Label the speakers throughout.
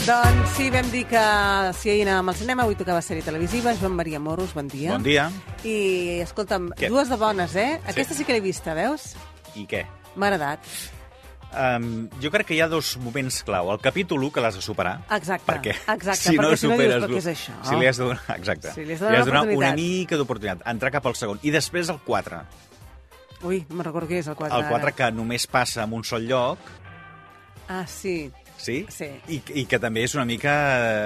Speaker 1: Doncs sí, vam dir que si ahir anàvem al cinema, avui tocava sèrie televisiva. Joan Maria Moros, bon dia.
Speaker 2: Bon dia.
Speaker 1: I, escolta'm,
Speaker 2: Què?
Speaker 1: dues de bones, eh? Aquesta sí que l'he vista, veus?
Speaker 2: I què?
Speaker 1: M'ha agradat.
Speaker 2: Um, jo crec que hi ha dos moments clau. El capítol 1, que l'has de superar.
Speaker 1: Exacte,
Speaker 2: Perquè
Speaker 1: exacte,
Speaker 2: si no
Speaker 1: perquè si no dius,
Speaker 2: superes
Speaker 1: "Però què és
Speaker 2: l'u",
Speaker 1: això?
Speaker 2: Si li has de donar, exacte.
Speaker 1: Si li has de
Speaker 2: li
Speaker 1: donar
Speaker 2: has de donar una
Speaker 1: l'oportunitat.
Speaker 2: mica d'oportunitat. Entrar cap al segon. I després el 4.
Speaker 1: Ui, no me'n recordo què és, el 4.
Speaker 2: El 4 que només passa en un sol lloc,
Speaker 1: Ah, sí.
Speaker 2: sí?
Speaker 1: Sí.
Speaker 2: I, I que també és una mica...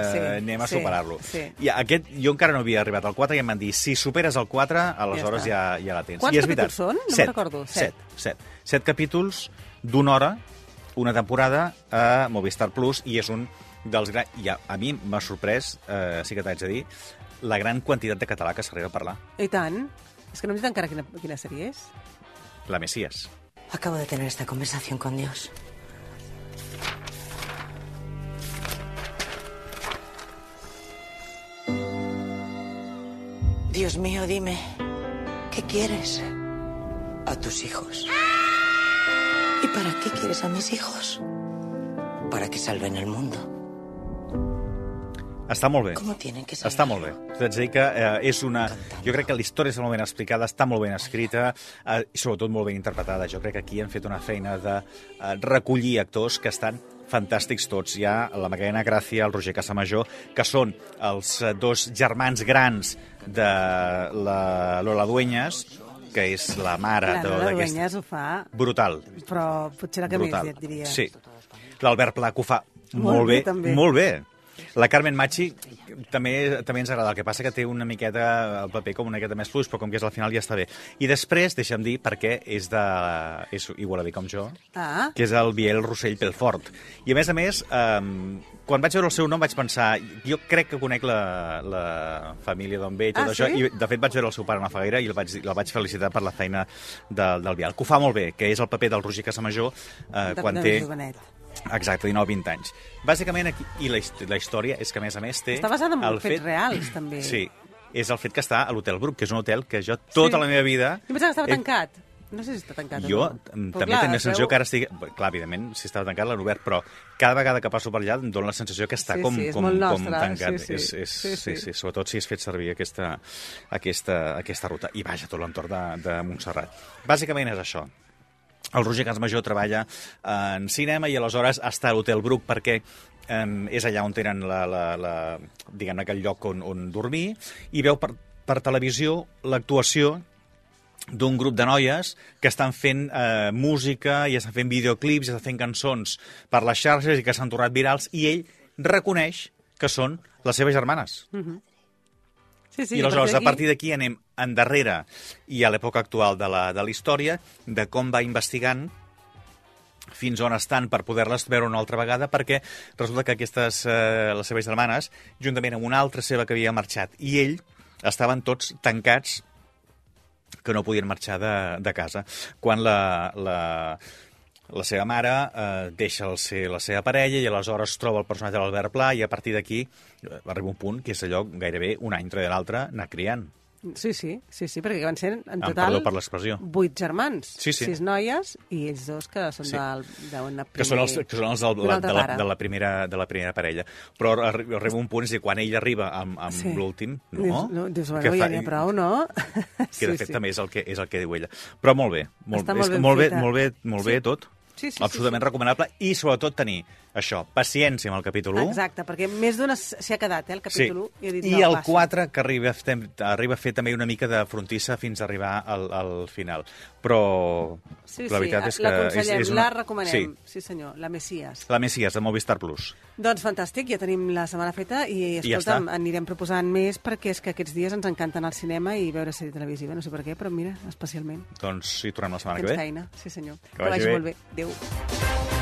Speaker 1: Sí,
Speaker 2: Sí, anem a
Speaker 1: sí,
Speaker 2: superar-lo.
Speaker 1: sí.
Speaker 2: I aquest, jo encara no havia arribat al 4 i em van dir, si superes el 4, aleshores ja,
Speaker 1: Ja està.
Speaker 2: ja, la tens.
Speaker 1: Quants
Speaker 2: I és veritat.
Speaker 1: capítols són? No me'n
Speaker 2: set,
Speaker 1: recordo. Set.
Speaker 2: Set, set. Set capítols d'una hora, una temporada a Movistar Plus i és un dels grans... I a, a mi m'ha sorprès, eh, sí que t'haig de dir, la gran quantitat de català que s'arriba a parlar.
Speaker 1: I tant. És que no em dit encara quina, quina sèrie és.
Speaker 2: La Messias.
Speaker 3: Acabo de tener esta conversación con Dios. Dios mío, dime, ¿qué quieres?
Speaker 4: a tus hijos
Speaker 3: ¿Y para qué quieres a mis hijos?
Speaker 4: para que salven el mundo.
Speaker 2: Està molt bé.
Speaker 3: ¿Cómo tienen que saber?
Speaker 2: Està molt bé. T'haig de dir que eh, és una... Jo crec que la història està molt ben explicada, està molt ben escrita eh, i sobretot molt ben interpretada. Jo crec que aquí han fet una feina de eh, recollir actors que estan fantàstics tots. Hi ha la Macarena Gràcia, el Roger Casamajor, que són els eh, dos germans grans de la Lola Dueñas, que és la mare
Speaker 1: La
Speaker 2: de-
Speaker 1: Lola
Speaker 2: d'aquesta...
Speaker 1: Dueñas ho fa,
Speaker 2: Brutal,
Speaker 1: però potser la que
Speaker 2: brutal.
Speaker 1: més, ja et diria.
Speaker 2: Sí. L'Albert Pla, que ho fa molt,
Speaker 1: Molt bé,
Speaker 2: bé,
Speaker 1: també.
Speaker 2: molt bé. La Carmen Machi també també ens agrada, el que passa que té una miqueta el paper com una miqueta més fluix, però com que és al final ja està bé. I després, deixa'm dir, perquè és de... és igual a dir com jo,
Speaker 1: Ah,
Speaker 2: que és el Biel Rossell Pelfort. I a més a més, eh, quan vaig veure el seu nom vaig pensar, jo crec que conec la, la família d'on ve i tot
Speaker 1: Ah,
Speaker 2: això,
Speaker 1: sí?
Speaker 2: i de fet vaig veure el seu pare a la Faguera i el vaig, el vaig felicitar per la feina de, del Biel, que ho fa molt bé, que és el paper del Roger Casamajor eh,
Speaker 1: de,
Speaker 2: quan
Speaker 1: de
Speaker 2: té...
Speaker 1: Doncs Jovenet.
Speaker 2: Exacte, 19-20 anys. Bàsicament, aquí, i la, hist- la història és que, a més a més, té...
Speaker 1: Està basada en
Speaker 2: el
Speaker 1: fets reals, també.
Speaker 2: Sí, és el fet que està a l'Hotel Brook, que és un hotel que jo tota
Speaker 1: eh? Sí.
Speaker 2: sí. la meva vida...
Speaker 1: Jo pensava que estava
Speaker 2: he-
Speaker 1: tancat. No sé si està tancat
Speaker 2: Eh, Jo
Speaker 1: o no.
Speaker 2: em-
Speaker 1: Però
Speaker 2: també
Speaker 1: clar,
Speaker 2: tinc la
Speaker 1: es
Speaker 2: sensació
Speaker 1: veu-
Speaker 2: que ara estic... Bé, Clar, evidentment, si estava tancat l'han obert, però cada vegada que passo per allà em dóna la sensació que està
Speaker 1: Sí,
Speaker 2: com,
Speaker 1: sí, és
Speaker 2: com,
Speaker 1: molt
Speaker 2: com
Speaker 1: nostra,
Speaker 2: tancat.
Speaker 1: sí, sí.
Speaker 2: És, és,
Speaker 1: Sí,
Speaker 2: sí,
Speaker 1: sí.
Speaker 2: sí. sí, sobretot si has fet servir aquesta, aquesta, aquesta ruta. I vaja, tot l'entorn de, de Montserrat. Bàsicament és això. El Roger Casmajor treballa en cinema i aleshores està a l'Hotel Bruc perquè eh, és allà on tenen la, la, la, diguem aquell lloc on, on dormir i veu per, per televisió l'actuació d'un grup de noies que estan fent eh, música i estan fent videoclips i estan fent cançons per les xarxes i que s'han tornat virals i ell reconeix que són les seves germanes.
Speaker 1: Sí, sí,
Speaker 2: I aleshores, a partir d'aquí anem endarrere i a l'època actual de la, de la història, de com va investigant fins on estan per poder-les veure una altra vegada, perquè resulta que aquestes, eh, les seves germanes, juntament amb una altra seva que havia marxat, i ell, estaven tots tancats que no podien marxar de, de casa. Quan la, la, la seva mare eh, deixa el ser la seva parella i aleshores troba el personatge de l'Albert Pla i a partir d'aquí eh, arriba un punt que és allò gairebé un any rere l'altre anar criant.
Speaker 1: Sí, sí, sí, sí, perquè van ser en
Speaker 2: Em
Speaker 1: total
Speaker 2: Ah, perdó per l'expressió.
Speaker 1: vuit germans,
Speaker 2: Sí, sí.
Speaker 1: sis noies i ells dos que són
Speaker 2: Sí.
Speaker 1: del, d'una primer...
Speaker 2: Que són els, que són els del,
Speaker 1: d'un
Speaker 2: la,
Speaker 1: altre
Speaker 2: de, la,
Speaker 1: pare.
Speaker 2: de, la primera, de la primera parella. Però arri- arriba un punt, és a dir, quan ell arriba amb, amb
Speaker 1: Sí.
Speaker 2: l'últim, no?
Speaker 1: Dius, no, dius
Speaker 2: Què
Speaker 1: bueno, ja n'hi ha prou, no?
Speaker 2: Que de fet també és el que, és el que diu ella. Però molt bé, molt,
Speaker 1: Està molt
Speaker 2: és que
Speaker 1: ben
Speaker 2: molt, bé,
Speaker 1: feta.
Speaker 2: molt bé, molt bé
Speaker 1: Sí.
Speaker 2: tot.
Speaker 1: Sí, sí, sí,
Speaker 2: Absolutament
Speaker 1: sí.
Speaker 2: recomanable i sobretot tenir això, paciència amb el capítol 1.
Speaker 1: Exacte, perquè més d'una s- s'hi ha quedat, eh, el
Speaker 2: Sí.
Speaker 1: capítol 1. I, ha dit,
Speaker 2: I
Speaker 1: no,
Speaker 2: el
Speaker 1: passo.
Speaker 2: 4, que arriba, a fer- arriba a fer també una mica de frontissa fins a arribar al, al final. Però
Speaker 1: Sí,
Speaker 2: la veritat
Speaker 1: sí,
Speaker 2: és que... és,
Speaker 1: L'aconsellem,
Speaker 2: és una...
Speaker 1: la recomanem.
Speaker 2: Sí,
Speaker 1: Sí. sí, senyor, la Messias.
Speaker 2: la Messias, de Movistar Plus.
Speaker 1: Doncs fantàstic, ja tenim la setmana feta i,
Speaker 2: ja
Speaker 1: escolta'm,
Speaker 2: està.
Speaker 1: anirem proposant més perquè és que aquests dies ens encanta anar al cinema i veure sèrie televisiva, no sé per què, però mira, especialment.
Speaker 2: Doncs hi tornem la setmana que
Speaker 1: Tens
Speaker 2: ve.
Speaker 1: feina, sí senyor. Que,
Speaker 2: vagi bé.
Speaker 1: molt bé. Adéu.